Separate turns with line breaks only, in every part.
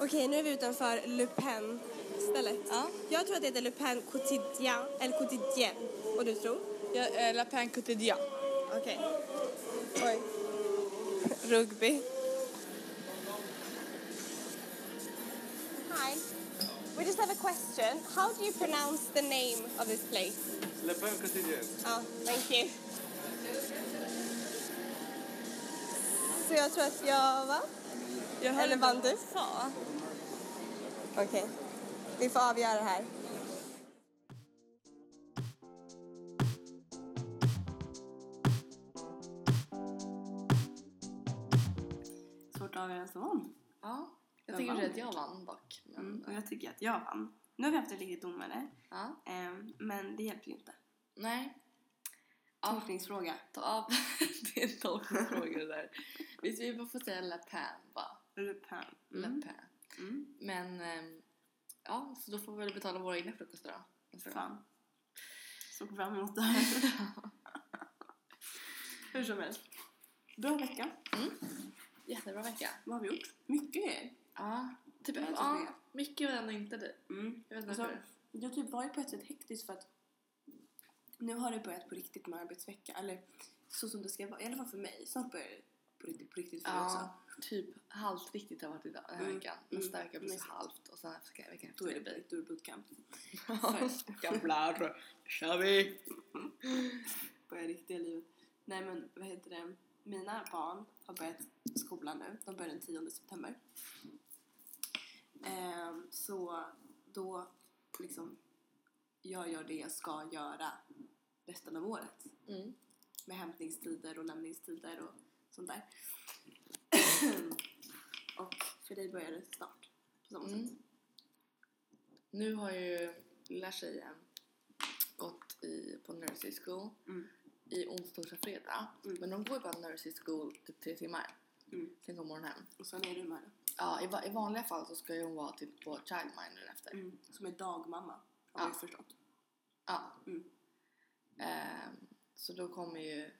Okej, nu är vi utanför Le Pen stället.
Ja.
Jag tror att det heter Le Pen Quotidien, eller Quotidien. Och du tror?
Ja, eh, La Pain Quotidien.
Okej. Oj. Rugby. Hi. We just have a question. How do you pronounce the name of this place?
Le Pen quotidien.
Ja, thank you. Så jag tror att jag, va?
Jag hörde
Eller
inte
vann
vad hon
du?
sa.
Okej. Vi får avgöra här.
Svårt att avgöra vem som vann.
Ja. Jag
Jag
tycker i och för sig
vann.
att jag vann dock. Men,
Mm, och jag tycker att jag vann. Nu har vi haft en riktig domare,
ja.
ehm, men det hjälper ju inte.
Nej. Ja,
Tolkningsfråga.
ta av. det är en tolkningsfråga det där. Visst, vi bara får säga La Pan va?
Le Pen.
La
Mm.
Pan.
Mm.
Men, ehm, ja, så då får vi väl betala våra egna frukostar då. nästa gång.
Fan. Såg fram emot det här. Hur som helst. Bra vecka.
Jättebra vecka.
Vad har vi gjort? Mycket grejer.
Ja, typ,
Jag vet
ja,
inte.
mycket var ändå inte det.
Mm.
Jag vet
Och
inte
så,
varför.
jag typ var ju på ett sätt hektisk för att nu har det börjat på riktigt med arbetsvecka. Eller så som det ska vara. I alla fall för mig. Snart börjar det på riktigt, på riktigt för mig också.
Ja, typ halvt riktigt har varit idag, den här
Mm,
veckan.
mm,
Nästa vecka blir det
exakt.
halvt och sen veckan veckan
Då är det
blir
boot- då är det bootcamp.
Jävlar, kör vi!
börja riktiga livet. Nej men vad heter det? Mina barn har börjat skolan nu. De börjar den 10 september. Ehm, så då liksom jag gör det jag ska göra resten av året.
Mm.
Med hämtningstider och lämningstider och sånt där. och för dig börjar det snart. På samma
Mm.
sätt.
Nu har ju lilla tjejen gått i, på nursery school
Mm.
i onsdag, torsdag, fredag.
Mm.
Men de går ju bara nursery school typ tre timmar.
Mm.
Sen kommer hon hem.
Och sen är du med.
Ja, i, va- i vanliga fall så ska ju hon vara typ på childminder efter.
Mm. Som är dagmamma. Har vi
Ja.
förstått.
Ja.
Mm.
Ehm, så då kommer ju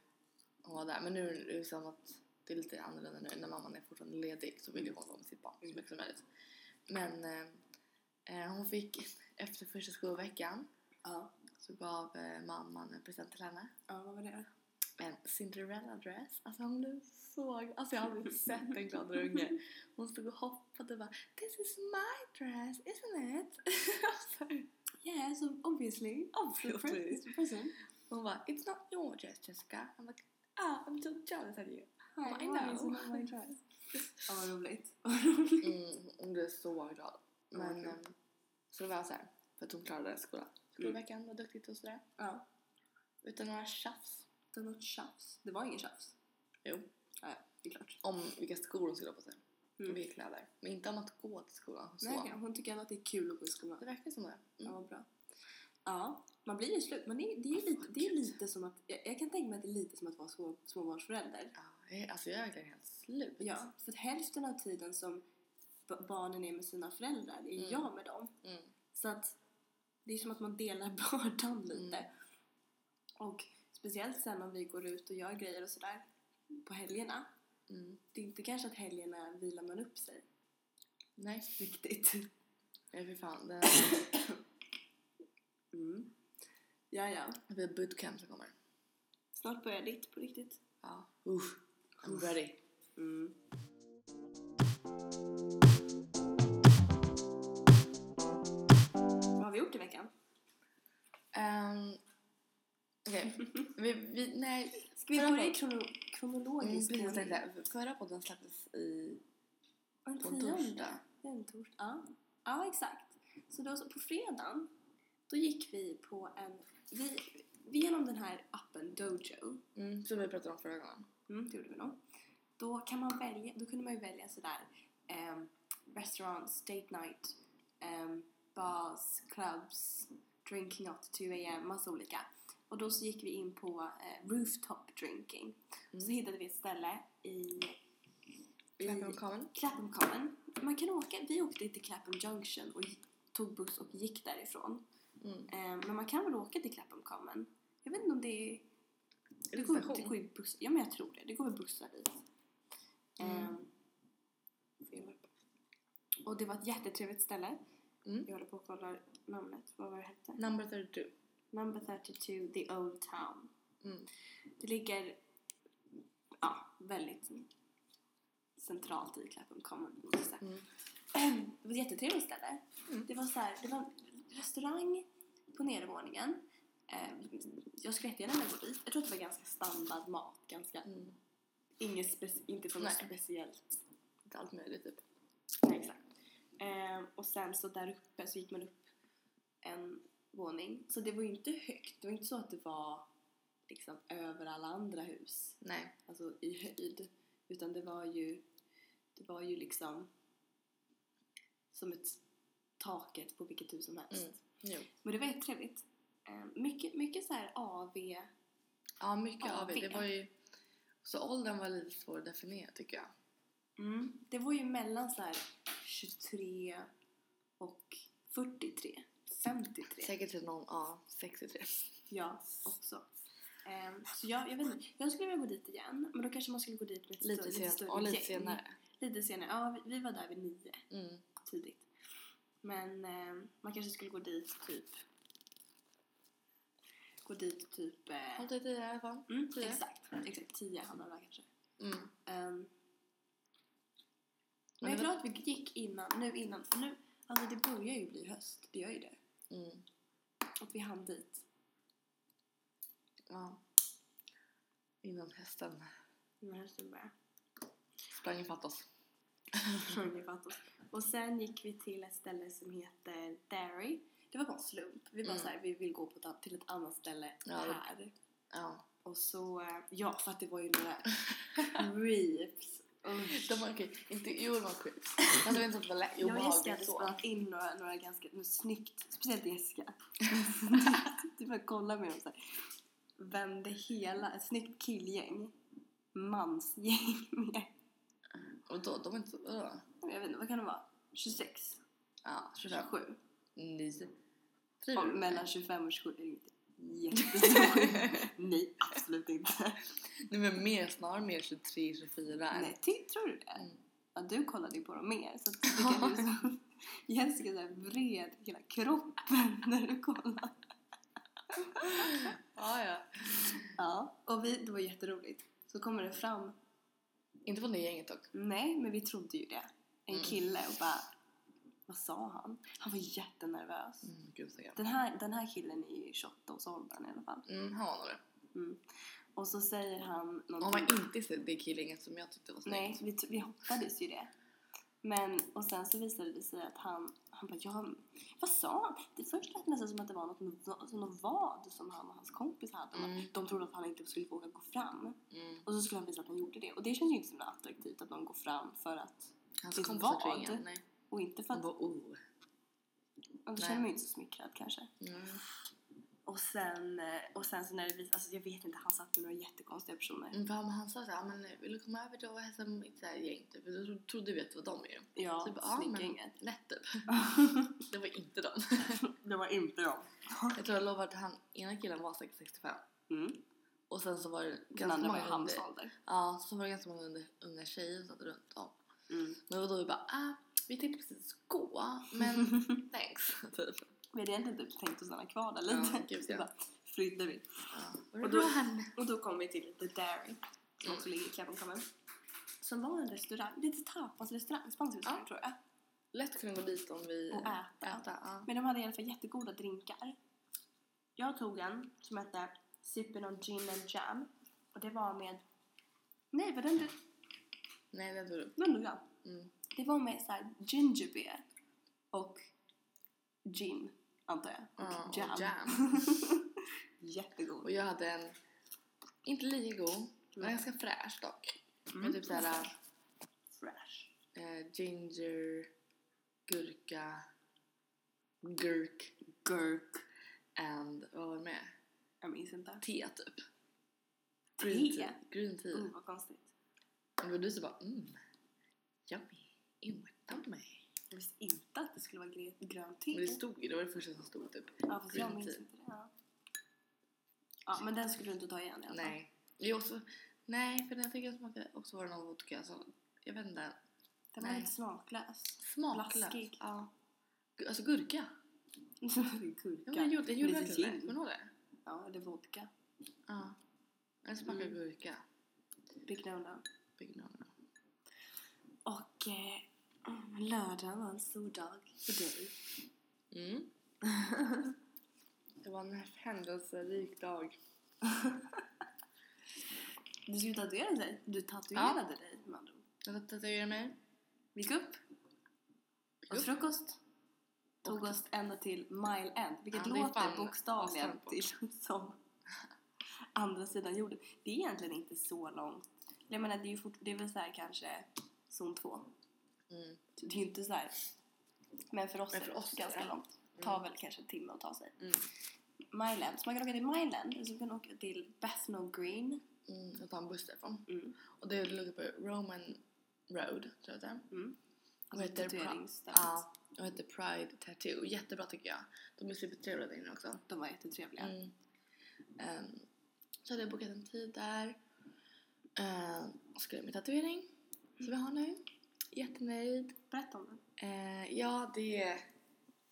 hon vara där. Men nu är det ju som att det är lite annorlunda nu. När mamman är fortfarande ledig så vill ju hon vara med sitt barn
Mm.
så mycket som möjligt. Men eh, eh, hon fick efter första skolveckan
Ja.
så gav eh, mamman en present till henne.
Ja, vad var det?
En Cinderella dress. Alltså hon blev så... Alltså jag har aldrig sett en gladare unge. Hon stod och hoppade och bara This is my dress, isn't it? Alltså,
Yes, obviously.
Obviously.
Present.
Hon bara It's not your dress Jessica. I'm like Ah, I'm so jealous of you.
Hi,
I know.
Ja, vad roligt. Vad roligt.
Mm, hon blev så glad. Men,
Mm.
ehm, så det var så här, för att hon klarade skolan. Skolveckan var duktigt och sådär.
Ja.
Utan några tjafs.
Det var något tjafs. Det var ingen tjafs.
Jo.
Ja, ja, det är klart.
Om vilka skor hon skulle ha på sig.
Mm.
Vilka kläder. Men inte om att gå till skolan. Så.
Nej, okej, hon tycker ändå att det är kul att gå i skolan.
Det verkar som det.
Ja,
Mm.
vad bra. Ja, man blir ju slut. Men det är, det är ju lite, det är lite som att... Jag, jag kan tänka mig att det är lite som att vara små, småbarnsförälder.
Ja, jag är- alltså jag är verkligen helt slut.
Ja, för att hälften av tiden som b- barnen är med sina föräldrar är
Mm.
jag med dem.
Mm.
Så att det är som att man delar bördan lite. Och speciellt sen om vi går ut och gör grejer och sådär på helgerna.
Mm.
Det är inte kanske att helgerna vilar man upp sig
Nej,
riktigt.
nej fy fan. Det
Mm. Ja, ja.
det blir bootcamp som kommer.
Snart börjar ditt på riktigt.
Ja. Uff. I'm ready.
Mm. Vad har vi gjort i veckan?
Um, Okej. Vi, vi, nej,
Ska vi
Förra
börja i
gången-
krono kronologisk
Mm, precis, tänkte jag. Förra podden släpptes i,
Var det
på
en tionde?
torsdag.
Det är en torsdag. Ja. ja, exakt. Så då, så på fredagen, då gick vi på en... Vi, vi genom den här appen Dojo,
Mm, som vi pratade om förra gången.
mm, det gjorde vi nog, då, kan man välja, då kunde man ju välja sådär um, restaurants, date night, um, bars, clubs, drinking after 2 am, massa olika. Och då så gick vi in på eh, rooftop drinking. Så hittade vi ett ställe i
I
Mm.
Kamen.
Clapham Common. Man kan åka, vi åkte till Clapham Junction och gi- tog buss och gick därifrån.
Mm.
Eh, men man kan väl åka till Clapham Common? Jag vet inte om det är... Det
det
går,
station?
det går ju buss, ja men jag
Mm.
Ehm, tror det. Det går väl bussar dit. Eh, får jag hjälpa? Och det var ett jättetrevligt ställe.
Mm.
Jag håller på och kollar namnet. Vad var det hette?
Number 32.
Number 32, The Old Town.
Mm.
Det ligger ja, väldigt centralt i Clapham Common. måste jag säga. Ehm,
Mm.
Det var ett jättetrevligt ställe. Det var så här, det var en restaurang på nedervåningen. Eh, Jag skulle jättegärna vilja gå dit. Jag tror att det var ganska standard mat. Ganska,
Mm.
inget speci- inte på något
Nej.
speciellt.
Lite allt möjligt typ.
Nej, exakt. Eh, och sen så där uppe så gick man upp en våning. Så det var ju inte högt. Det var inte så att det var liksom över alla andra hus.
Nej.
Alltså i höjd. Utan det var ju, det var ju liksom som ett taket på vilket hus som helst.
Mm. Jo.
Men det var jättetrevligt. Eh, mycket, mycket så här AV.
Ja, mycket
Ja,
av det. Det
det.
var ju... Så åldern var lite svår att definiera tycker jag.
Det var ju mellan så här 23 och 43. 53.
Säkert till någon, ja, 63.
Ja, också. Ehm, så jag, jag, vet inte, jag skulle vilja gå dit igen, men då kanske man skulle gå dit med ett
Lite,
större,
sen, och lite
gäng.
senare.
Lite senare. Ja, vi, vi var där vid nio,
Mm.
tidigt. Men ehm, man kanske skulle gå dit typ... Gå dit typ... Eh,
Håll dig till det i alla fall.
mm,
tio.
Exakt, exakt. Tio hamnade där kanske.
Mm.
Ehm,
Men
men jag
det
är glad att vi gick innan, nu innan, för nu, alltså det börjar ju bli höst, det gör ju det.
Mm.
Att vi hann dit.
Ja. Innan hästen
När hösten börjar.
sprang ifatt oss.
Sjöng i Vatos. Och sen gick vi till ett ställe som heter Derry. Det var bara en slump. Vi bara
Mm.
såhär, vi vill gå på ett, an- till ett annat ställe
Ja.
här.
Ja.
Och så, eh, ja för att det var ju några reeps. Usch.
De var okej, inte, jo de var creeps. Men det var inte att det var lä-
Jag och Jessica
obehagligt
hade
så.
spelat in några, några ganska nu, snyggt, speciellt Jessica. du bara kolla med dem såhär. Vände hela, ett snyggt killgäng, mansgäng med,
Och då, de var inte så, uh.
jag vet inte vad kan det vara, 26,
Ja, 25.
27.
Nio.
Ja,
Driver du?
mellan 25 och 27 är det inte jättestor skillnad. Nej, absolut inte.
Nej men mer, snarare mer 23, 24.
Nej, ty, tror du det?
Mm.
Ja, du kollade ju på dem mer. Så att det kan ju så- Jessica så här vred hela kroppen när du kollade.
Ja, ja.
Ja, och vi, det var jätteroligt. Så kommer det fram,
Inte från det gänget dock.
nej men vi trodde ju det. En
Mm.
kille och bara, vad sa han? Han var jättenervös.
Mm, gud så jävla.
Den, här, den här killen är ju i 28-årsåldern i alla fall. Mm.
Mm, han var nog det.
Och så säger han någonting.
Han var inte så- det killgänget som jag tyckte var snyggt.
Nej, vi, vi hoppades ju det. Men, och sen så visade det sig att han, han bara, ja, vad sa han? Det först lät nästan som att det var något, med- som något vad som han och hans kompis hade.
Mm.
De trodde att han inte skulle våga gå fram.
Mm.
Och så skulle han visa att han gjorde det. Och det känns ju inte så himla attraktivt att de går fram för att,
Hans
Det
kompisar
var
tror jag ingen.
det.
Nej.
och inte för
Han
att,
var oh.
och då
nej.
känner man ju inte så smickrad kanske.
Mm.
Och sen, eh, och sen så när det visade, alltså jag vet inte, han satt med några jättekonstiga personer.
Mm, för han, han sa såhär, men vill du komma över då och hälsa på mitt så här gäng? Typ. Och Då trodde vi att det var dem ju.
Ja,
Så jag bara, ja, men-
snygginget.
Lätt typ. det var inte dem.
Det var inte de.
Jag tror jag lovade att han, ena killen var säkert 65.
Mm.
Och sen så var det
Den
ganska
andra var
många
i hans
under-
ålder.
Ja, så var det ganska många under, unga tjejer som satt runt om.
Mm.
Men då var vi bara, ah, vi tänkte precis gå, men thanks. Typ.
Vi hade egentligen typ tänkt att stanna kvar där
Ja,
lite.
gud,
så
ja.
bara flydde vi.
Ja. Var det
Och då-
bra han?
Och då kom vi till The Dairy, som också ligger i Clapham Common. Som var en restaurang, lite tapasrestaurang, spansk restaurang tror jag.
Lätt kunna gå dit om vi
Och äta.
äta ja.
Men de hade i alla fall jättegoda drinkar. Jag tog en som hette Sippin' on Gin and Jam. Och det var med... Nej, var den du?
Nej, det tog du.
Den tog jag.
Mm.
Det var med så här ginger beer och gin, antar jag.
Ja, och
jam.
jam.
Jättegod.
Och jag hade en, inte lika god, men ganska fräsch dock.
Mm.
Med typ såhär
Fresh.
eh, ginger, gurka, gurk
Gurk.
and vad var det med?
Jag minns inte.
Te typ.
Te?
Green tea. Green tea.
Mm, vad konstigt.
Och då du så bara mm, yummy, inutan mig.
Jag visste inte att det skulle vara gre- grönt
Men det
te.
stod ju, det var det första som stod typ.
Ja, fast jag
green
minns
tea.
inte det. Ja. ja, men den skulle du inte ta igen i alla fall.
Nej. Jo, så, nej, för när jag tänker tillbaka också var det någon vodka. Så, jag vet inte.
Den var
Nej.
lite smaklös.
Smaklös.
Blaskig. Ja.
Gu- Alltså gurka.
Gurka.
Ja, men jag gjorde, jag gjorde
Lite
verkligen det.
gin.
Kommer du ihåg det?
Ja, eller vodka.
Ja. En smakar
Mm.
gurka.
Big no-no.
Big no, no.
Och eh, mm, lördagen var en stor dag för dig.
Mm. det var en händelserik dag.
Du skulle tatuera dig. Du tatuerade dig med andra ord.
Jag tatuerade mig.
Vi gick upp, åt
upp.
frukost. Tog oss ända till Mile End, vilket
Ja, det är
låter
fan
bokstavligen
avstånd på.
till, som andra sidan jorden. Det är egentligen inte så långt. Jag menar, det är ju fort, det är väl så här kanske zon 2.
Mm.
Det är ju inte så här. Men för oss
Men
är
för
det
oss,
ganska
ja.
långt. Tar väl kanske en timme att ta sig.
Mm.
Mile End, så man kan åka till Mile End, eller så kan man åka till Bethnal Green.
Mm. Jag tar en buss därifrån.
Mm.
Och det ligger på Roman Road, tror jag det är.
Mm.
Och heter, Pri-
Tatueringsstället.
ja, och heter Pride Tattoo. Jättebra tycker jag. De är supertrevliga där inne också.
De var jättetrevliga.
Mm. Ehm, så hade jag bokat en tid där. Ehm, och skulle göra min tatuering. Som jag har nu. Jättenöjd.
Berätta om det.
Ehm, ja, det är...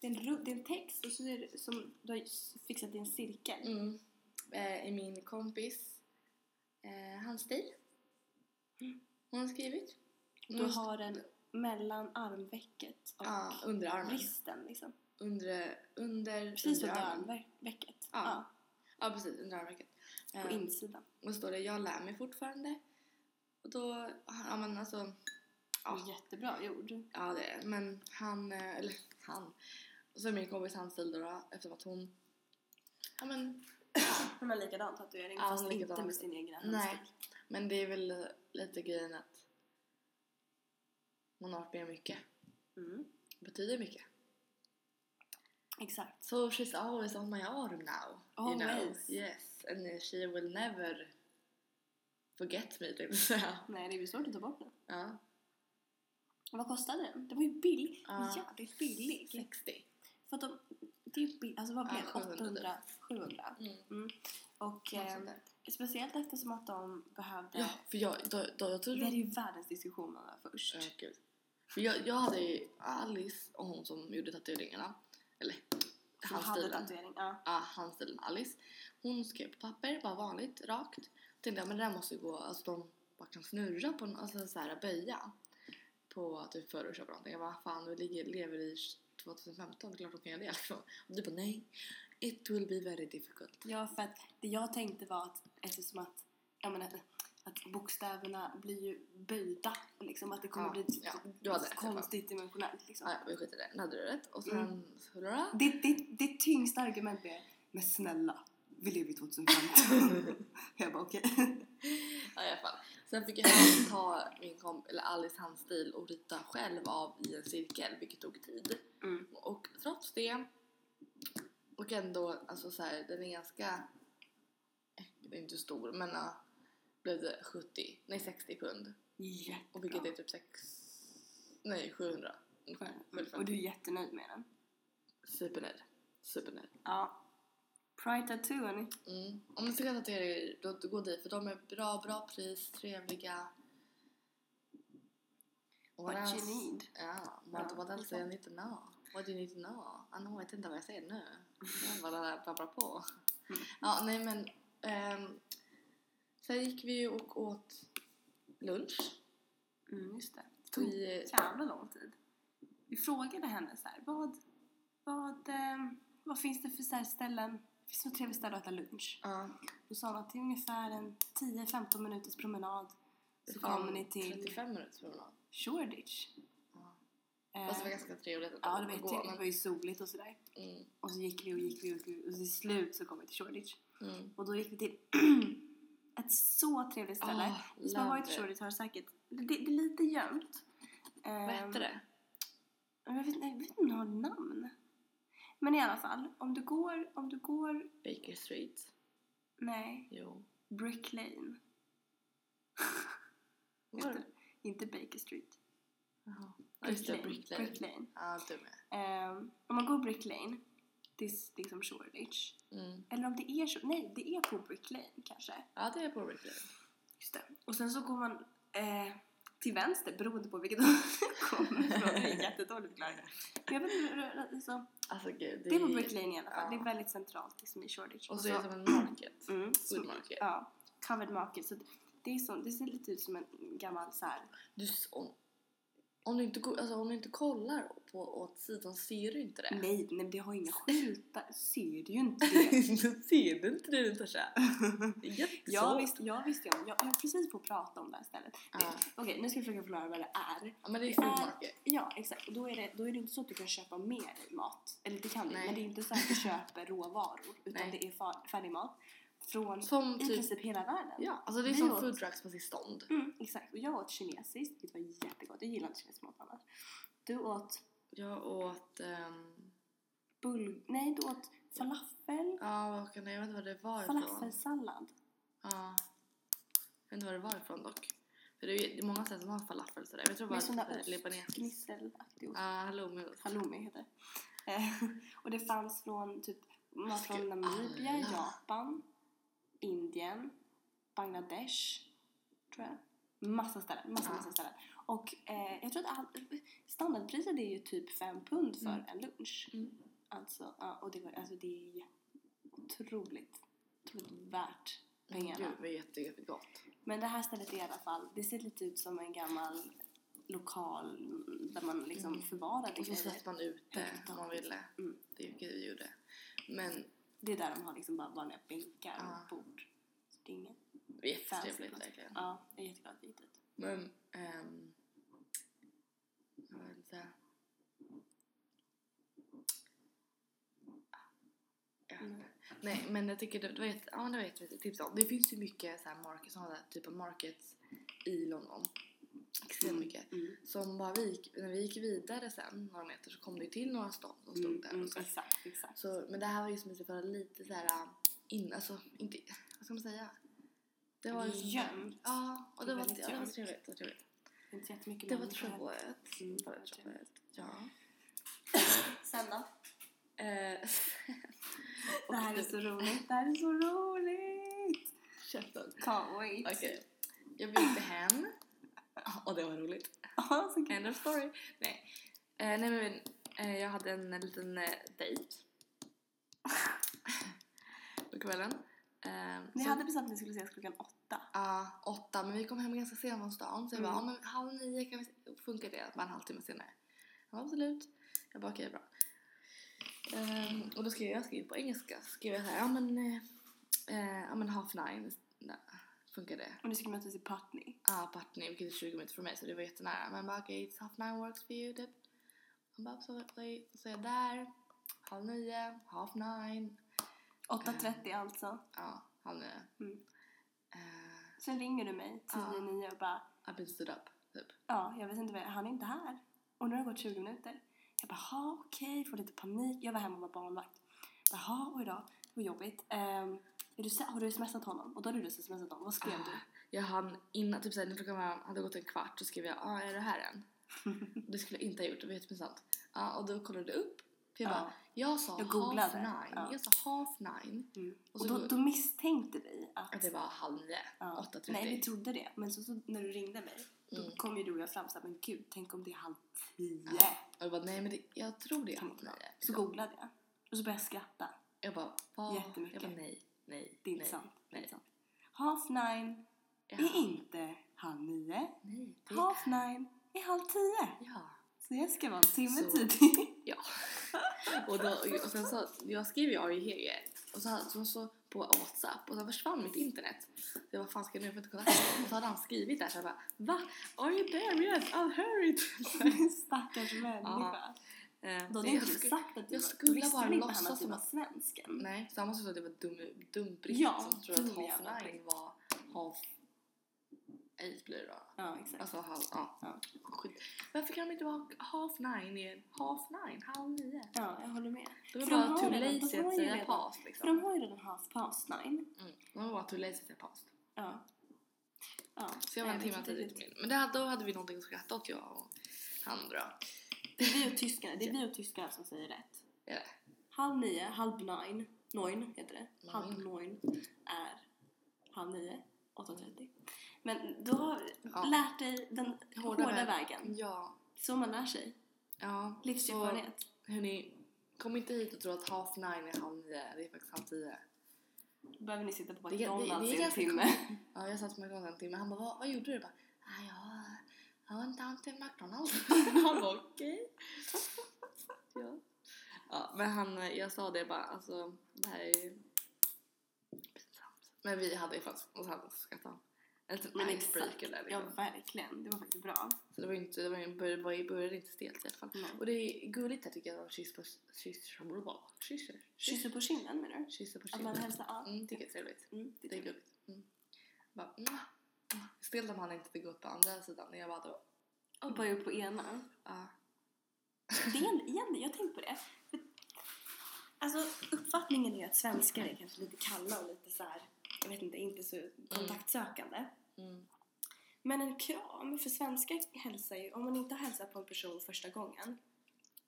Det är en, ru- det är en text och så är det som du har s- fixat i en cirkel.
Mm, eh, i min kompis eh, handstil. Hon har skrivit. Hon
Mm. Du har den mellan armvecket och
Ja, under armen.
bristen liksom.
Under, under,
Precis
under
under armvecket.
Ja.
Ja.
Ja, precis. Under armvecket.
På
Ehm,
insidan.
och så står det jag lär mig fortfarande. Och då, ja men alltså. Ja.
Jättebra gjord.
Ja det är det. Men han, eh, eller han. Och så är min kompis hans stil då, då eftersom att hon... Ja men,
Hon har likadan tatuering
Ja, hon
fast
har likadan.
inte med sin egen
nej.
handstil.
Men det är väl lite grejen att man har varit med mycket.
Mm.
Betyder mycket.
Exakt.
So she's always on my arm now. You know?
Always.
Yes. And she will never forget me tänkte jag säga.
Nej, det är ju svårt att ta bort den.
Ja.
Vad kostade den? Det var ju billig.
Ja.
Jävligt billig.
60.
För att de, det är ju billigt. Alltså vad
Ja,
blev det?
700 typ.
800? 700?
Mm.
Och
något
eh,
sånt där.
speciellt eftersom att de behövde
Ja, för jag, då, då, jag
Det
trodde...
är ju världens diskussion man har först.
Ja, gud. För jag, jag hade ju Alice och hon som gjorde tatueringarna. Eller
Som hade
handstilen.
tatuering. Ja.
Ja, handstilen Alice. Hon skrev på papper, bara vanligt, rakt. Tänkte jag men det där måste ju gå, alltså de bara kan snurra på en, alltså så här böja. På typ förorsaka någonting. Jag bara fan vi ligger, lever i 2015, det är klart de kan göra det liksom. Och du bara nej. It will be very difficult.
ja, för att det jag tänkte var att eftersom att, jag menar, att- att bokstäverna blir ju böjda. Liksom att det kommer
Ja,
bli
ja, du hade rätt,
konstigt dimensionellt. Liksom.
Ah, ja, vi skiter i det. Nu hade du rätt. Och sen...
Mm.
Hurra!
Det, det, det tyngsta argumentet är men snälla, vi lever i 2015. jag bara okej.
Ja, i alla fall. Sen fick jag hem ta min komp- eller Alice handstil och rita själv av i en cirkel, vilket tog tid.
Mm.
Och trots det, och ändå, alltså så här, den är ganska, eh, den är inte stor, men uh, blev det 70, nej 60 pund.
Jättebra.
Och vilket är typ 6, nej 700.
Mm. Och du är jättenöjd med den.
Supernöjd. Supernöjd.
Ja. Pride Tattoo, hörni.
Mm. Om ni ska tatuera er, då, då gå dit för de är bra, bra pris, trevliga. Och
What
vad
you
else?
need.
Ja, what,
Ja,
what else
liksom.
do you need to know? What do you need to know? Ah, no, jag vet inte vad jag säger nu. Jag bara babblar på.
Mm.
Ja, nej men. ehm, sen gick vi ju och åt lunch.
Mm, just det.
Vi,
jävla lång tid. Vi frågade henne så här, vad, vad, eh, vad finns det för så här ställen, finns det något trevligt ställe att äta lunch?
ja,
Då sa hon att det är ungefär en 10-15 minuters promenad så
det var
kommer ni till
35 minuters promenad.
Shoreditch.
Ja.
Eh,
Fast det var ganska trevligt att
Ja, det var jättetrevligt. Det var
men,
ju soligt och sådär.
mm,
Och så gick vi och gick vi och, gick vi, och till slut så kom vi till Shoreditch.
mm.
Och då gick vi till ett så trevligt ställe.
Ah,
Oh, som har varit i
love it.
Shoreditch har säkert, det, det är lite gömt. Ehm,
Vad hette det?
Jag vet, jag vet inte om den har namn. Men i alla fall, om du går, om du går,
Baker Street.
nej,
Jo.
Brick Lane.
Var det?
Inte Baker Street.
Jaha. Ja, just det. Brick Lane.
Brick Lane.
Ja, du med.
Ehm, om man går Brick Lane, det är s- liksom Shoreditch.
Mm.
Eller om det är Shore- nej det är på Brick Lane kanske.
Ja, det är på Brick Lane.
Just det. Och sen så går man, eh, till vänster beroende på vilket håll du kommer ifrån. Det är jättedålig förklaring. Men jag vet inte, r- r- alltså,
Alltså gud.
det är på
ju-
Brick Lane i alla fall.
ja.
Det är väldigt centralt liksom, i Shoreditch.
Och så är det som en market.
mm,
Food market.
ja, covered market. Så det, är som, det ser lite ut som en gammal så här,
Du, s- om, om, du inte, går- alltså, om du inte kollar på åt sidan ser du inte det.
Nej, nej men det har inga skyltar. Ser du ju inte det?
Då ser du inte det Natasha. Det är
Jag
jättesvårt.
visste, jag visste ju om, jag, jag var precis på att prata om det här stället.
Ja.
Okej, nu ska jag försöka förklara vad det är.
Ja, men det är food market.
Ja, exakt. Och Då är, det, då är det inte så att du kan köpa med dig mat. Eller det kan du,
Nej.
men det är inte så att du köper råvaror. Utan
Nej.
det är fa- färdig mat från
Som
i
typ,
princip hela världen.
ja, alltså det är
Vi
som
åt-
food trucks fast i stånd.
Mm, exakt. Och jag åt kinesiskt, vilket var jättegott. Jag gillar inte kinesisk mat annars. Du åt
Jag åt, ehm,
bull... Nej, du åt falafel.
ja vad kan det, jag vet inte vad det var ifrån.
Falafelsallad.
Ja. Jag vet inte vad det var ifrån dock. För det är ju det är många ställen som har falafel sådär. Jag tror
Med
bara
sån där
att
ost.
det är libanesiskt.
Gnisselaktig ost.
Ja, halloumiost.
halloumi heter det. Eh, Och det fanns från typ mat från
Gud,
Namibia,
alla.
Japan, Indien, Bangladesh, tror jag. Massa ställen, massa,
Ja.
massa ställen. Och eh, jag tror att all, standardpriset är ju typ 5 pund för
Mm.
en lunch.
Mm.
Alltså, ja, och det, var, alltså det är ju otroligt, otroligt värt pengarna.
Gud vad jätte, jättegott.
Men det här stället är i alla fall, det ser lite ut som en gammal lokal där man liksom
Mm.
förvarade
Och så satt man ute
Högt i
om
tak.
man ville.
Mm.
Det är ju vi gjorde. Men
Det är där de har liksom bara vanliga bänkar och
Ja.
bord. Så det är inget.
jättetrevligt
plats.
verkligen.
Ja, jag är jätteglad att vi gick dit.
Men, ehm... Jag vet inte.
Mm.
Ja.
Mm.
Nej, men jag tycker det, det var jätte... Ja, det var jätte tips om. Det finns ju mycket så här market, sådana där typ av markets i London. Extremt
Mm.
mycket.
Mm.
Som bara vi gick, när vi gick vidare sen några meter så kom det ju till några stånd som stod
Mm,
där.
mm,
och så.
exakt, exakt.
Så, men det här var ju som att det var lite så här äh, in, alltså inte, vad ska man säga? Det var liksom-
Gömt.
Ja,
Det
och det
är
var,
väldigt
ja, det var
gömt.
trevligt. Det var trevligt.
Inte jättemycket
Det var
människor här.
tråkigt.
Mm,
Det var
det var
tråkigt. Ja.
Sen då?
Eh,
Det här är så roligt, det här är så roligt!
Käften.
Can't wait!
Okej. Jag byggde hem. Och det var roligt.
Ja, så kul.
End of story. Nej. Eh, nej men eh, jag hade en liten eh, dejt. På kvällen. Eh,
Ni
så-
hade bestämt att ni skulle ses klockan åtta.
Ja, Ah, åtta. Men vi kom hem ganska sent från stan. Så jag
Mm.
bara, ja men halv nio kan vi... Funkar det? Bara en halvtimme senare. Ja, absolut. Jag bara, okej, bra. Ehm, och då skrev jag, jag skrev på engelska. Så skrev jag så här, ja men... eh, eh, ja men half nine. Nej, funkar det?
Och ni skulle mötas i Putney.
Ja, Partney, vilket är 20 minuter från mig. Så det var jättenära. Men jag bara, okej, it's half nine works for you, typ. Han bara, absolutely. Så är jag där. Halv nio, half nine.
8.30 alltså.
Ja, halv nio.
Mm.
Eh,
Sen ringer du mig
Ja.
10.09 och bara
I've been stood up, typ.
Ja, jag vet inte vad han är inte här. Och nu har det gått 20 minuter. Jag bara, "Ha, okej, får lite panik. Jag var hemma och var barnvakt. Jaha, oj då, det var jobbigt. Ehm, är du, se- har du smsat honom? Och då hade du smsat honom. Vad skrev
Ah,
du?
Jag hann innan, typ såhär när klockan var, hade gått en kvart så skrev jag ah, är det här än? det skulle jag inte ha gjort, det var jättepinsamt. Ja, och då kollade jag upp. För jag
Ja.
bara, jag sa
Jag
half
googlade.
nine.
Ja.
Jag sa half nine.
Mm.
Och
Och,
så
då,
går-
då misstänkte vi att...
Att det var halv nio,
Ja.
8.30.
Nej, vi trodde det. Men så, så när du ringde mig,
Mm. Ah,
då kom ju du och jag fram så här, men gud, tänk om det är halv tio.
Och jag bara, nej men det, jag tror det är halv nio.
Så
Liksom.
googlade jag. Och så började jag skratta.
Jag bara, vad?
Jättemycket.
Jag bara, nej, nej,
Det är inte
nej,
sant. Det är
nej.
inte sant. Half nine
Ja,
är inte halv nio.
nej, det,
Half nine är halv tio.
ja.
Så jag ska vara en timme
Så-
tidig.
Och, då, och sen så, jag skrev ju Are you here yet? Och så, hade- så, så på Whatsapp och sen försvann mitt internet. Så jag vad fan ska jag nu för att kolla? Och så hade han skrivit där så jag bara Va? Are you there yet? I'll hurry!
Stackars människa.
Eh,
Då hade inte
nej, jag
du
skulle-
sagt att du
jag
var-
skulle
då visste
bara
väl inte
låtsas
han att du
som
var
att-
svensken.
Nej, så han måste ha sagt att det var dum, dumbritt
Ja,
som tror att
dum jävla
half nine var half eight blir det då.
Ja, exakt.
Alltså halv, ja.
Ja.
Skit. Varför kan de inte vara half nine i en half nine, halv nio?
ja, jag håller med.
De var
För de
bara
har
too
redan- de
lazy
har
att
ju
säga
redan-
pass
För
liksom.
de har ju redan half past nine.
Mm. De var too lazy att säga pass.
Ja. ja.
Så jag var en
Nej, typ
timme
det är
tidigt
tydligt.
till min. Men det, hade- då hade vi någonting att skratta åt jag och han då.
Det är vi och tyskarna, det är vi och tyskarna som säger rätt.
Ja.
Halv nio, halv nine, noin heter det. Halv
Noin.
noin är halv nio, 8.30. Men du har
Ja.
lärt dig den hårda,
Hårda vägen.
vägen.
Ja.
Så man lär sig.
ja.
Livserfarenhet.
Så, Hörni, kom inte hit och tro att half nine är halv nio. Det är faktiskt halv tio.
Då behöver ni sitta på
Det- det- det
McDonalds
är
i en
ganska
timme.
Ja, jag satt på McDonalds en timme. Han bara, vad, vad gjorde du? Jag bara, ah, ja, jag var inte han till McDonalds. han bara, okej. ja. ja, men han, eh, jag sa det bara, alltså det här är ju pinsamt. Men vi hade ju faktiskt, och så hade skrattat han. En liten
Men
icebreaker där
Ja,
liksom.
verkligen. Det var faktiskt bra.
Så det var ju inte, det var ju, började, började, började inte stelt i alla fall.
Nej.
Och det är gulligt här tycker jag, att kyss på, kyss, kyss, kyss,
Kysser på kinden menar du?
kyss på
Att man
kinden.
hälsar an?
Mm, tycker jag är trevligt.
Mm, det
Det är
tycker jag.
gulligt. Mm. Bara, mwah, mwah. Stelt om han inte fick gå upp på andra sidan. Jag bara Ah. då,
Och bara upp på ena.
ja.
Det är en- igen, jag har tänkt på det. Alltså uppfattningen är att svenskar är kanske lite kalla och lite så här, jag vet inte, inte så kontaktsökande.
Mm.
Men en kram, för svenskar hälsar ju, om man inte har hälsat på en person första gången,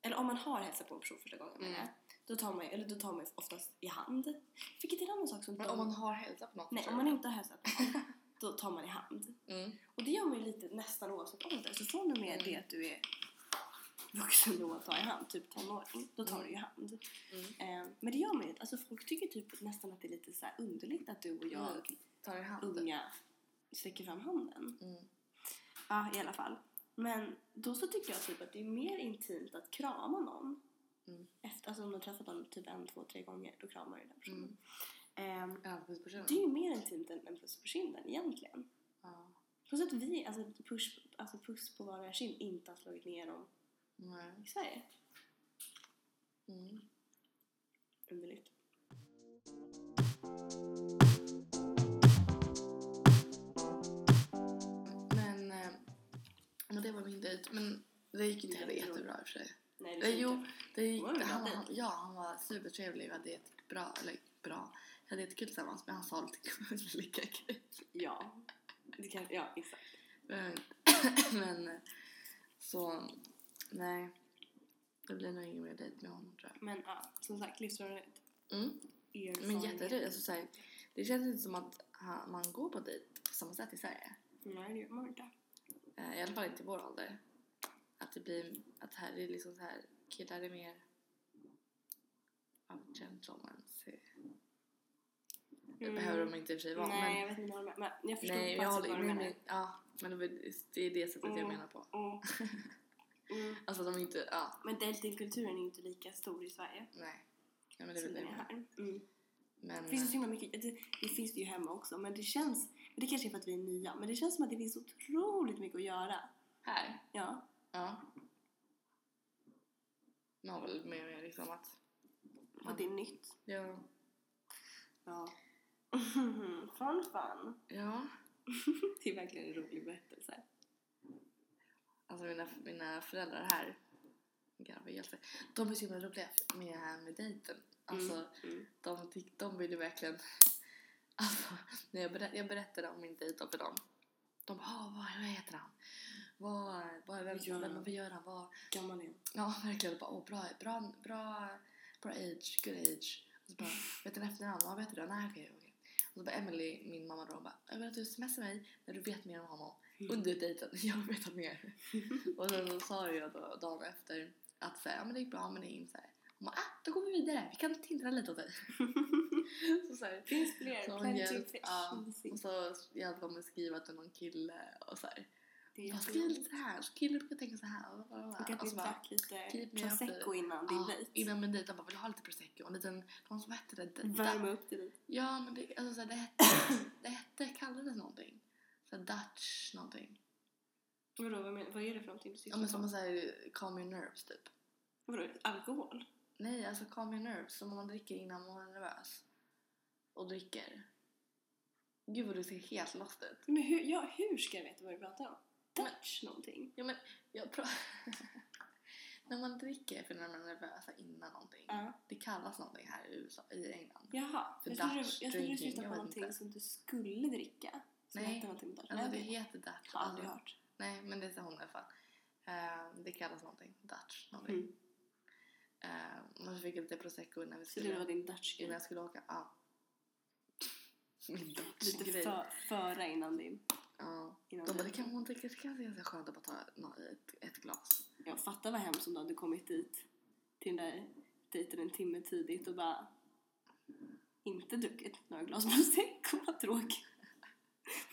eller om man har hälsat på en person första gången menar jag,
Mm.
då tar man ju, eller då tar man ju oftast i hand. Vilket är en annan sak som
Men
de-
om man har hälsa på något
Nej,
så-
om man inte har hälsat på någon, då tar man i hand.
Mm.
Och det gör man ju lite nästan oavsett ålder. Så från och med
Mm.
det att du är vuxen då att ta i hand, typ tonåring, då tar
Mm.
du ju hand.
Mm.
Eh, men det gör man ju inte. Alltså folk tycker typ nästan att det är lite så här underligt att du och jag,
Mm. Tar i handen.
unga, sträcker fram handen.
Mm.
Ja, i alla fall. Men då så tycker jag typ att det är mer intimt att krama någon.
Mm.
Efter, alltså om du har träffat dem typ en, två, tre gånger, då kramar du den personen. Eh,
Ja, precis på
det är
kinden.
ju mer intimt än en puss på kinden egentligen.
Ja.
Plus att vi, alltså push, alltså puss på vardera kind inte har slagit ner dem
Nej.
i Sverige.
Mm.
Underligt.
Men, eh, men det var min dejt. Men det gick inte heller
Det är
jättebra i och för sig.
Nej,
Eh, jo,
inte.
det gick,
Var det en bra
han, var,
dejt?
han- ja, han var supertrevlig. Vi hade jättebra, eller bra, vi hade jättekul tillsammans. Men han sa lite gulliga grejer.
Ja. Det kan, ja, exakt.
Men, Eh, men eh, så, nej. Det blir nog ingen mer dejt med honom tror jag.
Men ja, som sagt, livserfarenhet.
Mm. Men
Erfarenhet.
jättedyrt. Alltså, så här, det känns inte som att ha- man går på dejt på samma sätt i Sverige.
Nej, det gör man inte.
Eh, I alla fall inte i vår ålder. Att det blir, att här är liksom så här, killar är mer av gentlemans. Det behöver de inte i och för sig vara.
Mm. Nej,
men,
jag vet inte vad de men jag förstår
nej,
precis
jag håller
vad
ju
du
med.
menar.
men- Ja, men det var- det är det sättet jag
Mm.
menar på.
Mm. Mm.
Alltså de är inte, ja,
Men datingkulturen är ju inte lika stor i Sverige
nej. Ja, men det är
som
väl det.
den är
jag menar.
här. Mm.
Men,
Det finns ju så himla mycket, det, det finns det ju hemma också, men det känns, men det kanske är för att vi är nya, men det känns som att det finns otroligt mycket att göra.
här,
Ja.
ja. Man har väl med mig liksom att,
Och det är nytt.
ja.
Ja. fun fun.
Ja,
Det är verkligen en rolig berättelse.
alltså mina, mina föräldrar här, garvar ihjäl sig. De är så himla roliga med, med dejten. Alltså,
Mm.
de, tyck, de ville verkligen... Alltså, när jag, berä, jag berättade om min dejt då för dem. De bara, "Ah, vad, vad heter han? Vad, vad, vem,
Ja.
vem, vad gör han? Vad?
Gammal igen.
Ja, verkligen. Jag Bara, Åh, bra, bra, bra, bra age, good age. Och så bara, vet du en efternamn? Ja, vet du det? Nej, okej, okej. Och så bara Emily, min mamma då, hon bara, jag vill att du smsar mig när du vet mer om honom. Under dejten, jag vill veta mer. och sen så sa jag då dagen efter att så här, ja men det gick bra, men det är inte så här. Hon bara, ah, då går vi vidare, vi kan tindra lite åt dig. så så här,
Finns fler.
så hon
Plenty
hjälp,
of fish.
ja,
Precis.
och så hjälpte hon mig skriva till någon kille och så här.
Det är
Bara, skriv
jätteroligt.
lite så här, så killen brukar tänka så här. Och, och,
Och att
och
vi
så bara,
drack lite
keep me up
prosecco innan din
Ja,
dejt.
innan min dejt. Han bara, vill du ha lite prosecco? Och en liten, någon som hette det?
Värma upp till lite.
Ja, men det, alltså, så här, det hette, det hette, kallades någonting. Så här, Dutch någonting.
Vadå, vad, menar, vad är det för någonting du
Ja,
syftar
men
på?
som att säga calm your nerves typ.
Vadå, alkohol?
Nej, alltså calm your nerves. Som om man dricker innan man är nervös. Och dricker. Gud vad du ser helt lost ut.
Men hur, ja, hur ska jag veta vad du pratar om? Dutch någonting?
Ja, men jag pra- När man dricker för när man är nervös innan någonting.
Ja.
Det kallas någonting här i USA, i England.
Jaha.
För
Jag trodde du-
Dutch
jag trodde du
drinking,
syftade på
jag vet
någonting
inte.
som du skulle dricka. Som
Nej.
hette någonting med Dutch.
Alltså det
jag vet.
heter Dutch.
har aldrig
Alltså,
hört.
Nej, men det sa hon i alla fall. Eh, det kallas någonting. Dutch någonting.
Mm.
Eh, och så fick jag lite prosecco innan vi
Så det var
skulle,
din Dutch
innan jag skulle åka. Ja. Min
Lite
Dutch-grej.
för, föra innan din
Ja.
Innan
De bara,
du-
det kan, det kanske kan vara skönt att bara ta nå- ett, ett glas.
Jag fattar vad hemskt om du hade kommit dit till den där dejten en timme tidigt och bara inte druckit några glas prosecco, vad tråkigt.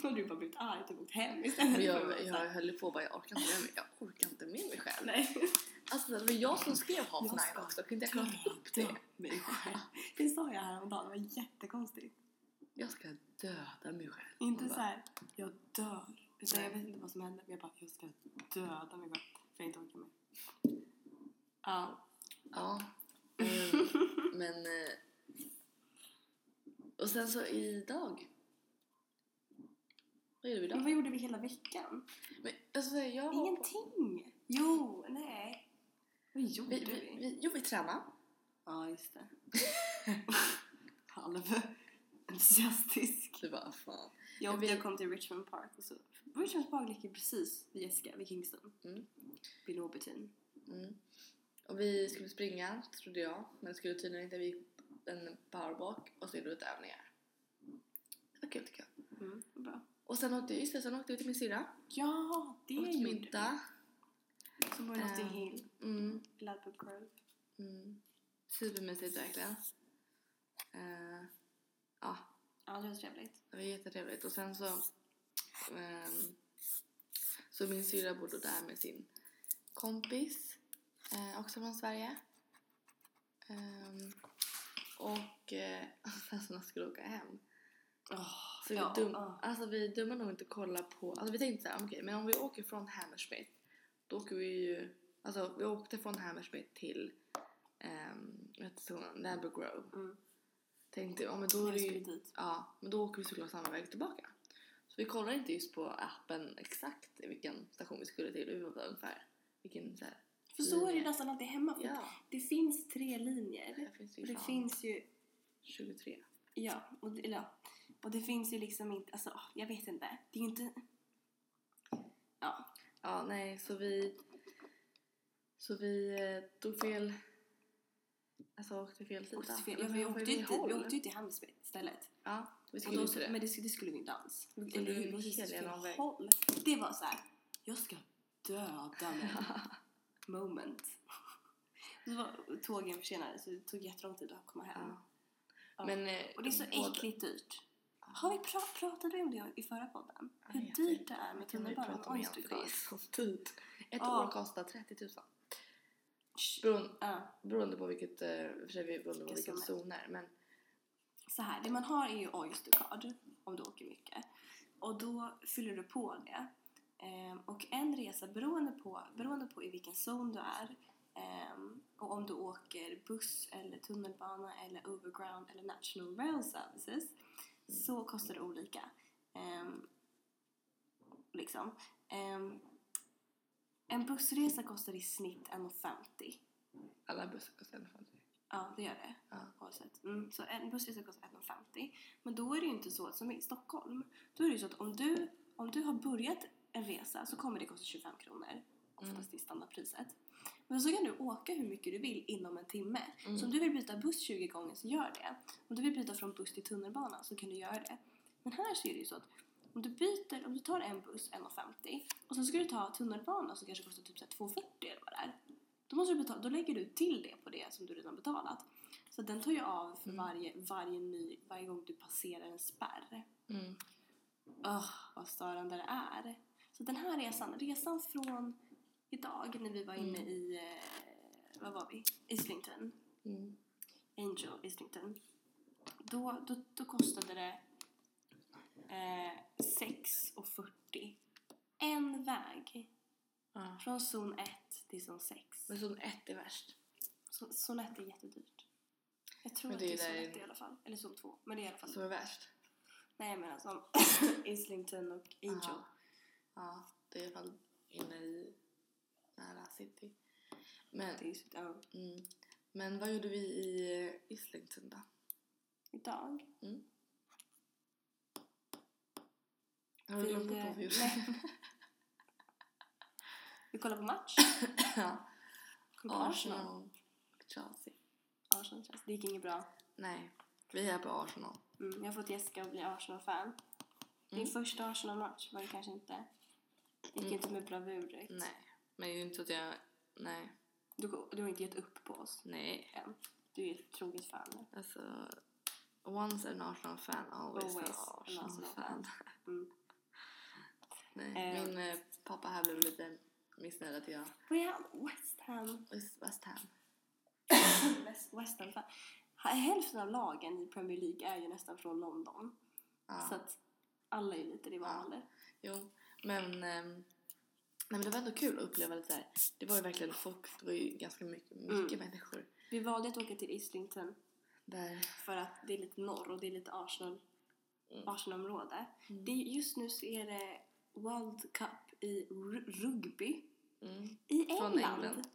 Då hade du bara blivit arg och åkt hem istället.
Men
för att
jag,
vara
jag
så här,
höll ju på bara, jag orkar inte med mig, jag orkar inte med mig själv.
Nej,
Alltså det var jag som skrev Half
Jag
Nine
ska
också, kunde jag klara upp det?
dö mig själv. Det sa jag häromdagen, det var jättekonstigt.
Jag ska döda mig själv.
Inte
Hon
så
bara,
här, jag dör. Utan jag
Nej.
vet inte vad som hände, men jag bara, jag ska döda mig själv. För jag inte orkar mer. Ja,
Ja. Mm, men... eh, Och sen så idag. Vad gjorde vi
men
idag?
vad gjorde vi hela veckan?
Men, alltså, jag var på,
Ingenting! Jo, nej. Vad gjorde
vi, vi, vi, jo, vi tränade.
Ja, just det. Halv entusiastisk.
Det var fan.
Jag,
Vi-
jag kom till Richmond Park och så... Richmond Park ligger precis vid Jessica, vid Kingston.
Mm.
Vid Lobertin.
Mm. Och vi skulle springa, trodde jag. Men det skulle tydligen inte. Vi gick en powerwalk och så gjorde vi övningar. Det var kul tycker jag.
Mm, bra.
Och sen åkte, just det, sen åkte vi till min syrra.
Ja, det
Åt
gjorde vi.
middag.
Så var det Notting
Ehm.
Hill,
Mm.
Gladbrook Grove.
Mm. Supermysigt verkligen. Eh, ja,
Ja, det var trevligt.
det var jättetrevligt. Och sen så... ehm, så min syrra bodde där med sin kompis. eh, också från Sverige. Ehm, och eh, sen så när jag skulle åka hem. Så
Ja,
vi, dum,
ja.
alltså vi är dumma nog inte att kolla på... Alltså vi tänkte såhär, okej men om vi åker från Hammersmith. Då åker vi ju... Alltså vi åkte från Hammersmith till... Um, vad heter zonen? Nabber Grove.
Mm.
Tänkte ja men då är
Jag
det
skulle
ju,
dit.
Ja, men då åker vi såklart samma väg tillbaka. Så vi kollade inte just på appen exakt vilken station vi skulle till. Vi var ungefär vilken såhär...
För så är det ju
linje.
nästan alltid hemma. För
Ja,
Det finns tre linjer.
det finns ju
Och det
fan
finns ju
23.
Ja, och det, eller ja. och det finns ju liksom inte, alltså ah, jag vet inte. Det är ju inte... Ja,
Ja, nej, så vi... Så vi eh, tog fel... Alltså åkte fel sida. Alltså,
åkte fel.
Eller
Ja, vi
var
åkte
vi
ju inte,
håll?
vi åkte ju till Hammersmith istället.
Ja, vi
Och
skulle
då,
inte det.
men det, sk- det skulle vi inte alls. Vi
det är ju
åkte precis
helt
fel
annan väg.
håll. Det var så här. jag ska döda mig. Moment. Så var tågen försenade så det tog jättelång tid att komma hem.
Ja.
Ja.
Men, eh,
Och det är så
båda-
äckligt dyrt. Har vi pra- pratat om det i förra podden?
Jag
Hur
vet
dyrt
inte.
det är med
Kan vi
tunnelbanan och
prata om igen? För det är
Oystercard?
så dyrt. Ett
Ja.
år kostar 30 000. Beroende,
Ja.
beroende på vilket, eh, för sig beroende på
Vilka
vilken
zoner.
zon det är. Men
så här, det man har är ju Oystercard om du åker mycket. Och då fyller du på det. Ehm, och en resa beroende på, beroende på i vilken zon du är ehm, och om du åker buss eller tunnelbana eller overground eller national rail services så kostar det olika. Ehm, liksom. Ehm, en bussresa kostar i snitt 1,50.
alla bussar kostar i alla fall det.
Ja, det gör det.
Ja.
Oavsett. Mm, så en bussresa kostar 1,50. Men då är det ju inte så, som i Stockholm, då är det ju så att om du, om du har börjat en resa så kommer det kosta 25 kronor. Oftast
Mm.
det är standardpriset. Men så kan du åka hur mycket du vill inom en timme.
Mm.
Så om du vill byta buss 20 gånger så gör det. Om du vill byta från buss till tunnelbana så kan du göra det. Men här så är det ju så att om du byter, om du tar en buss 1,50 och sen ska du ta tunnelbana som kanske kostar typ så här 2,40 eller vad det är. Då, måste du betala, då lägger du till det på det som du redan betalat. Så den tar ju av för
Mm.
varje, varje ny, varje gång du passerar en spärr.
Mm.
Öh, vad störande det är. Så den här resan, resan från idag när vi var inne
Mm.
i, eh, vad var vi? Islington.
Mm.
Angel Islington. Då, då, då kostade det eh, 6,40. En väg.
Ja.
Från zon 1 till zon 6.
Men zon 1 är värst.
Så, zon 1 är jättedyrt. Jag tror
Men
att
det
det
är
är zon
där-
1 i alla fall. Eller zon 2. Men det är i alla fall...
Som är värst.
Nej men alltså Islington och Angel.
Ja. Ja, det är i alla fall inne i nära city. Men,
Det är ju så- ja.
mm, men vad gjorde vi i eh, Islington då?
Idag.
Har du
Vi,
glömt bort
eh,
vad vi gjorde?
nej. Vi kollar på match.
ja.
Kollar på Arsenal.
Arsenal och Chelsea.
Arsenal. Chelsea. Det gick inget bra.
Nej, vi är på Arsenal.
Mm, jag har fått Jessica att bli Arsenal-fan. Din första Arsenal-match var det kanske inte. gick inte med bravur direkt.
Nej. Men det är ju inte så att jag... Nej.
Du, du har inte gett upp på oss
Nej.
än. Du är ett troget fan.
Alltså... Once an Arsenal-fan, always,
Always
an
an
Arsenal-fan.
Arsenal-fan. Mm.
Nej,
Eh.
min eh, pappa här blev lite missnöjd att jag...
Vad är han? West Ham.
Just West Ham.
West, West Ham. fan. Hälften av lagen i Premier League är ju nästan från London.
Ja.
Så att alla är ju lite rivaler.
Jo, men, ehm, nej, men det var ändå kul att uppleva lite så här. Det var ju verkligen folk, det var ju ganska mycket, mycket
Mm.
människor
Vi valde att åka till Islington
där.
för att det är lite norr och det är lite Arsenal, Mm. Arsenalområde. Det är, just nu så är det World Cup i ru- rugby
Mm.
i
Från
England.
England.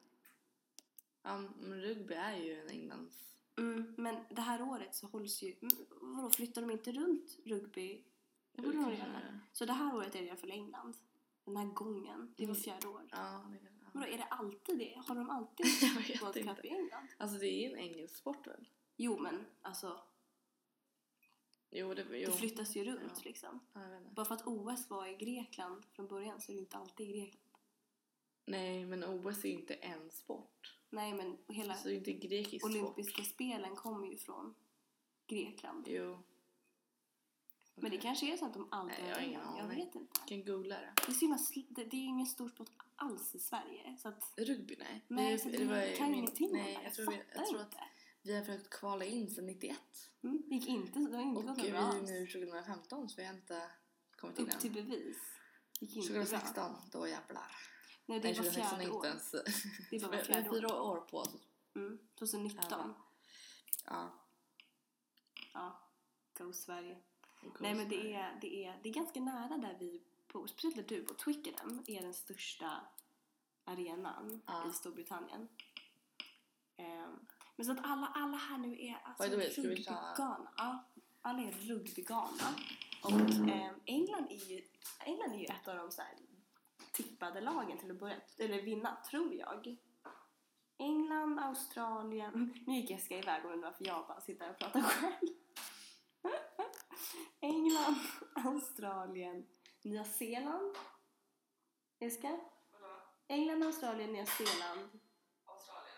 Ja, men rugby är ju en Englands...
Mm, men det här året så hålls ju... mm, Vadå, flyttar de inte runt rugby? Det borde de
Kan
göra.
göra.
Så det här året är det i alla fall England. Den här gången. Det var
Mm.
fjärde år.
Ja, det kan, ja.
Vadå, är det alltid det? Har de alltid
Jag vet
World
inte.
Cup i England?
Alltså det är ju en engelsk sport väl?
Jo, men alltså,
Jo, det... Jo.
det flyttas ju runt
Ja.
liksom.
Ja, jag vet inte.
Bara för att OS var i Grekland från början så är det inte alltid i Grekland.
Nej, men OS är ju inte en sport.
Nej, men hela
Så Alltså, det är ju inte grekisk sport.
olympiska spelen kommer ju från Grekland.
Jo.
Men det
Okej.
kanske är så att de aldrig
Nej, jag har ingen
Jag
aning.
vet inte.
kan googla det.
Det är, så himla sl- det, det är ingen stor sport alls i Sverige. Så att,
Rugby, nej.
nej,
det,
så
det
du
var ju
kan
min-
ingenting om det.
Nej, jag tror, vi, jag tror att
inte.
Vi har försökt kvala in sedan 91.
Mm, det gick inte, det har inte
Och
gått
vi
så bra
är
alls.
nu 2015 så vi har inte kommit in
Upp till
än.
bevis. Det gick inte bra.
2016, då jävlar.
Nej, det
Nej,
var
2016 är
fjärde
inte
år.
ens...
Det
Vi
var vart
vi har
fjärde år.
fyra år på oss.
Mm, 2019.
Ja. Ja,
Ja, go Sverige.
och cool.
Nej men det är, det, är, det är ganska nära där vi bor, speciellt där du bor. Twickenham är den största arenan
Ja.
i Storbritannien. Ehm, men så att alla, alla här nu är alltså
By the way, ska vi ta-
rugbygana. Ja, alla är rugbygana. Och ehm, England, är ju, England är ju ett av de så här tippade lagen till att börja, eller vinna, tror jag. England, Australien. Nu gick Jessica iväg och undrade varför jag bara sitter här och pratar själv. England, Australien, Nya Zeeland. Jessica? England, Australien, Nya Zeeland.
Australien.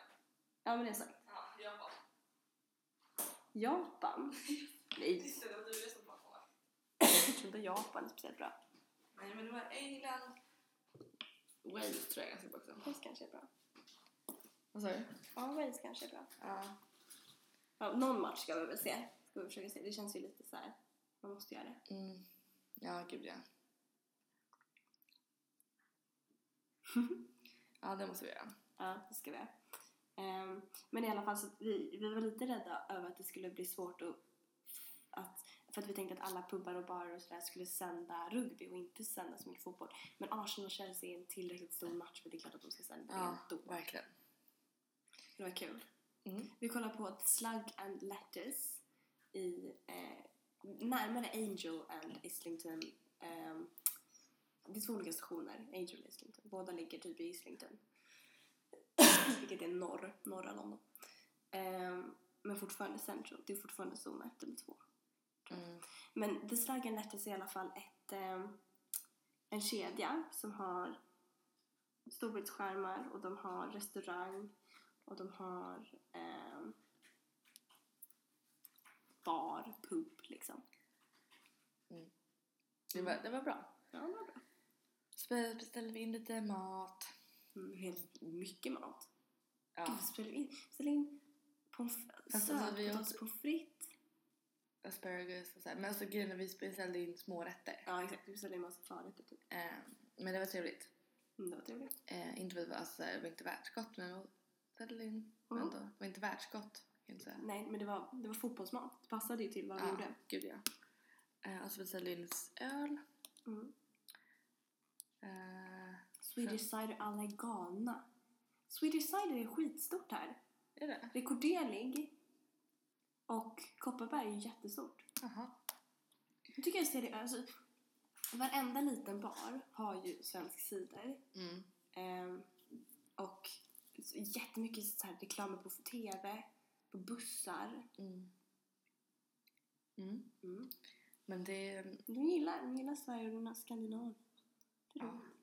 Ja, men det är sagt.
Ja, Japan.
Japan? Nej,
Visste du att du lyssnade på Japan?
jag tror inte Japan är speciellt bra.
Nej, men det var England.
Wales tror jag ganska bra också.
Wales kanske är bra.
Vad sa du?
Ja, Wales kanske är bra.
Ja.
Ja, någon match ska vi väl se. Ska vi försöka se. Det känns ju lite så här. Man måste göra det.
Mm. Ja, gud ja. ja, det måste vi göra.
Ja, det ska vi göra. Ehm, men i alla fall så att vi, vi var lite rädda över att det skulle bli svårt att, att för att vi tänkte att alla pubbar och barer och sådär skulle sända rugby och inte sända så mycket fotboll. Men Arsenal och Chelsea är en tillräckligt stor match för det är klart att de ska sända
Ja,
det då.
verkligen.
Det var kul.
Mm.
Vi kollar på Slug and Letters i eh, närmare Angel and Islington. ehm, det är två olika stationer, Angel och Islington. Båda ligger typ i Islington. Vilket är norr, norra London. Ehm, men fortfarande central. Det är fortfarande zon 1 eller 2.
Mm.
Men The Slug and Letters är i alla fall ett, ehm, en kedja som har storbildsskärmar och de har restaurang och de har ehm, bar, pub liksom.
Det, var, det var bra.
Ja, det var bra.
Så beställde vi in lite mat.
Mm, helt mycket mat.
Ja.
Gud, spelade vi in? Spelade in pomf-
Fast alltså, vi åt-
sötpotatis åt... fritt.
Asparagus och så här. Men alltså grejen är att vi beställde in smårätter.
Ja, exakt. Vi beställde en massa förrätter typ.
Eh, men det var trevligt.
Mm, det var trevligt.
Eh, inte för att det var- alltså, det var inte världsgott men det var- ställde in. Men
Mm.
ändå, det var inte världsgott. Kan jag inte säga.
Nej, men det var, det var fotbollsmat. Det passade ju till vad vi
Ja,
gjorde.
gud ja. Eh, och så beställde in öl.
Mm.
Eh,
Swedish cider alla Ghana. Swedish cider är skitstort här.
är det?
Rekorderlig och Kopparberg är jättestort.
Jaha.
Jag tycker jag ser det, alltså, varenda liten bar har ju svensk cider.
Mm.
Ehm, och så jättemycket så här reklamer på tv, på bussar.
Mm. Mm.
Mm.
Men det...
De gillar, de gillar Sverige och de gillar Skandinavien. Det är
Ja.
roligt.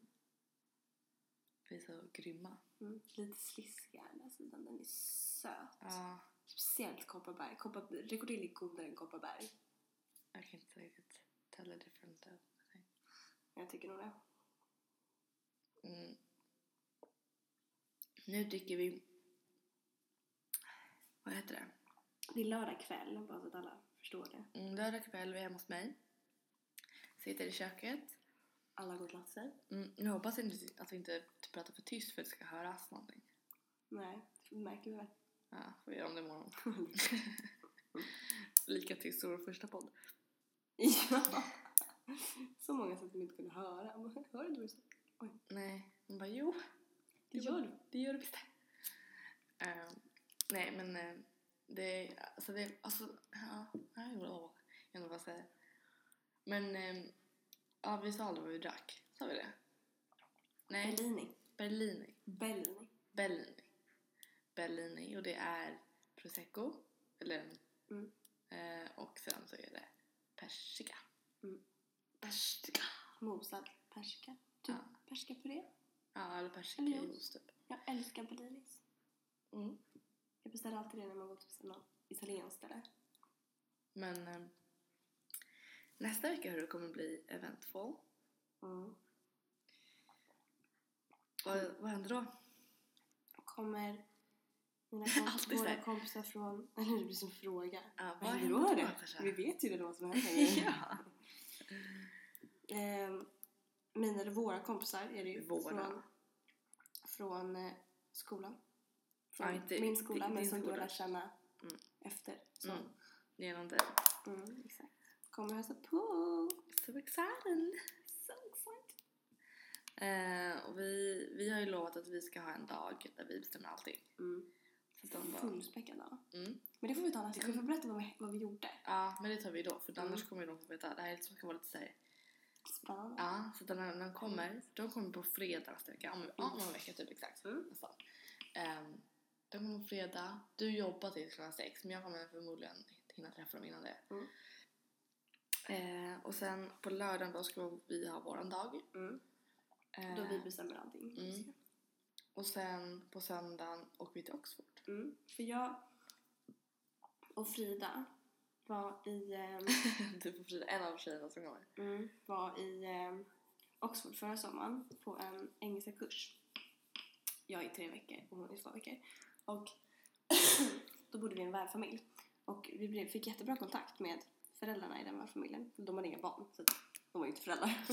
Vi är så grymma.
Mm. Lite sliskig är den här sidan, den är söt.
Ja,
Speciellt Kopparberg. Koppar, Rekodil är godare än Kopparberg.
jag kan inte riktigt tell the difference though. I think.
Jag tycker nog det.
Mm. Nu dricker vi... Vad heter det?
Det är lördag kväll, bara så att alla förstår det.
Mm, Lördag kväll, vi är hemma hos mig. Sitter i köket.
Alla går till sig.
Mm, jag hoppas inte att vi inte typ pratar för tyst för att det ska höras någonting.
Nej, det märker vi väl.
Ja, får vi göra om det imorgon. Lika tyst som vår första podd.
ja. Så många så att de inte kunde höra. Jag bara, Hör du inte vad du sa?
Nej, hon bara jo,
Det gör du.
det gör du visst Eh, Nej, men eh, det, alltså det, alltså, ja, jag gjorde av. Jag vet inte vad jag säger. Men, eh, ja vi sa aldrig vad vi drack. Sa vi det? Nej,
Bellini.
Berlini.
Bellini.
Bellini. Bellini och det är prosecco, eller en.
Mm.
Eh, och sen så är det persika.
Mm.
Persika.
Mosad persika. Typ
Ja.
persikapuré.
Ja, eller persika
Eller
i
juice.
ost typ.
Jag älskar Bellinis.
Mm.
Jag beställer alltid det när man går till något italienskt ställe.
Men eh, nästa vecka hörru, kommer bli eventful.
Mm.
Vad, vad händer då?
Kommer mina komp-
Alltid så
våra
här.
kompisar från... Eller det blir som fråga.
Ja,
Vad händer
då,
då? det?
Natasha? Mm.
Vi vet ju det då som händer.
Ja.
eh, mina eller våra kompisar är det ju.
Våra.
Från, från eh, skolan. Från
Ja, inte-
min skola,
din-
men
din
som du har
skola.
lärt känna
Mm.
efter. Så.
Mm.
Mm.
Genom det.
exakt. Kommer hälsa på.
So excited!
So excited.
Eh, och vi, vi har ju lovat att vi ska ha en dag där vi bestämmer allting.
Mm.
Så att de bara,
Fullspäckad dag.
mm.
Men det får vi ta nästa. Vi får berätta vad vi, vad vi gjorde.
Ja, men det tar vi då. För
Mm.
annars kommer ju de få veta. Det här är liksom kan vara lite såhär.
Spännande.
Ja, så att när de kommer. De kommer på fredag alltså, nästa vecka. Om, ja, om en vecka typ exakt.
Mm.
Nästan. Ehm, de kommer på fredag. Du jobbar till klockan sex. Men jag kommer förmodligen hinna träffa dem innan det.
Mm.
Eh, och sen på lördagen då ska vi ha våran dag.
Mm.
Eh,
Då vi bestämmer allting.
Mm. och sen på söndagen åker vi till Oxford.
Mm. För jag och Frida var i, ehm,
du Typ på fredag. En av tjejerna som kommer.
mm, var i ehm, Oxford förra sommaren på en engelska kurs. Jag i tre veckor och hon i två veckor. Och då bodde vi i en värdfamilj. Och vi blev, fick jättebra kontakt med föräldrarna i den värdfamiljen. De hade inga barn, så att de var ju inte föräldrar.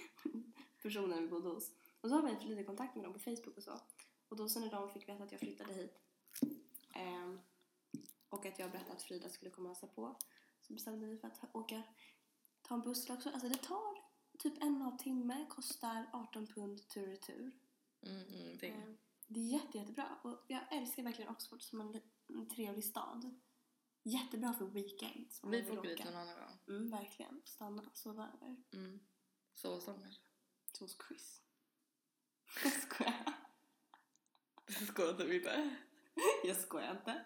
Personen vi bodde hos. Och så har vi lite kontakt med dem på Facebook och så. Och då så när de fick veta att jag flyttade hit ehm, och att jag berättade att Frida skulle komma och hälsa på så bestämde vi för att åka, ta en buss också. Alltså det tar typ en och en halv timme, kostar 18 pund tur och retur.
Mm, mm, det.
Ehm, Det är jätte, jättebra och jag älskar verkligen Oxford som en, en trevlig stad. Jättebra för weekend. om
Vi
man
får
vill
åka dit
åka.
någon annan gång.
Mm, verkligen. Stanna, sova över.
Mm. Så sommar.
Så hos Chris. Jag skojar.
Skål att du inte.
Jag skojar inte.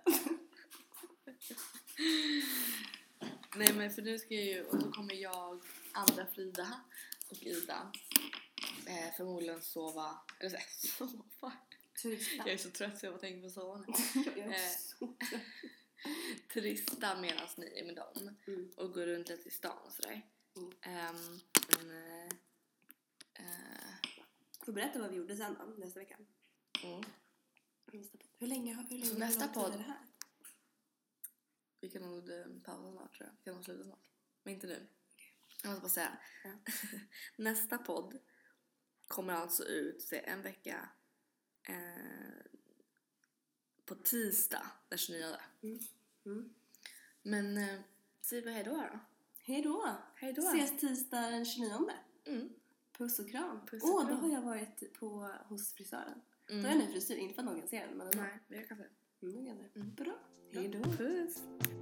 Nej men för nu ska jag ju, och då kommer jag, andra Frida och Ida eh, förmodligen sova, eller såhär sova.
Turista.
Jag är så trött så jag bara tänker på sova nu.
Jag är
Eh.
så
Turista medan ni är med dem
Mm.
och går runt lite i stan och sådär.
Mm.
Ehm, men, eh, eh,
Får berätta vad vi gjorde sen då, nästa vecka.
mm.
Nästa podd. Hur länge, hur länge
Så nästa
hur lång tid
podd.
är det här?
Vi kan nog eh, pausa snart tror jag. Vi kan nog sluta snart. Men inte nu. Jag måste bara säga.
Ja.
Nästa podd kommer alltså ut se, en vecka eh, på tisdag den 29.
Mm. Mm.
Men eh, säg bara hejdå då.
Hej då!
Hej då.
Ses tisdag den 29.
Mm.
Puss och kram.
Puss och
Åh, då
kram.
har jag varit på, hos frisören. Då har
Mm.
jag ny frisyr, inte för att någon kan se den men ändå.
Nej, vi har kaffe.
Mm, det är det.
Mm.
Bra.
Ja.
Hej då.
Puss.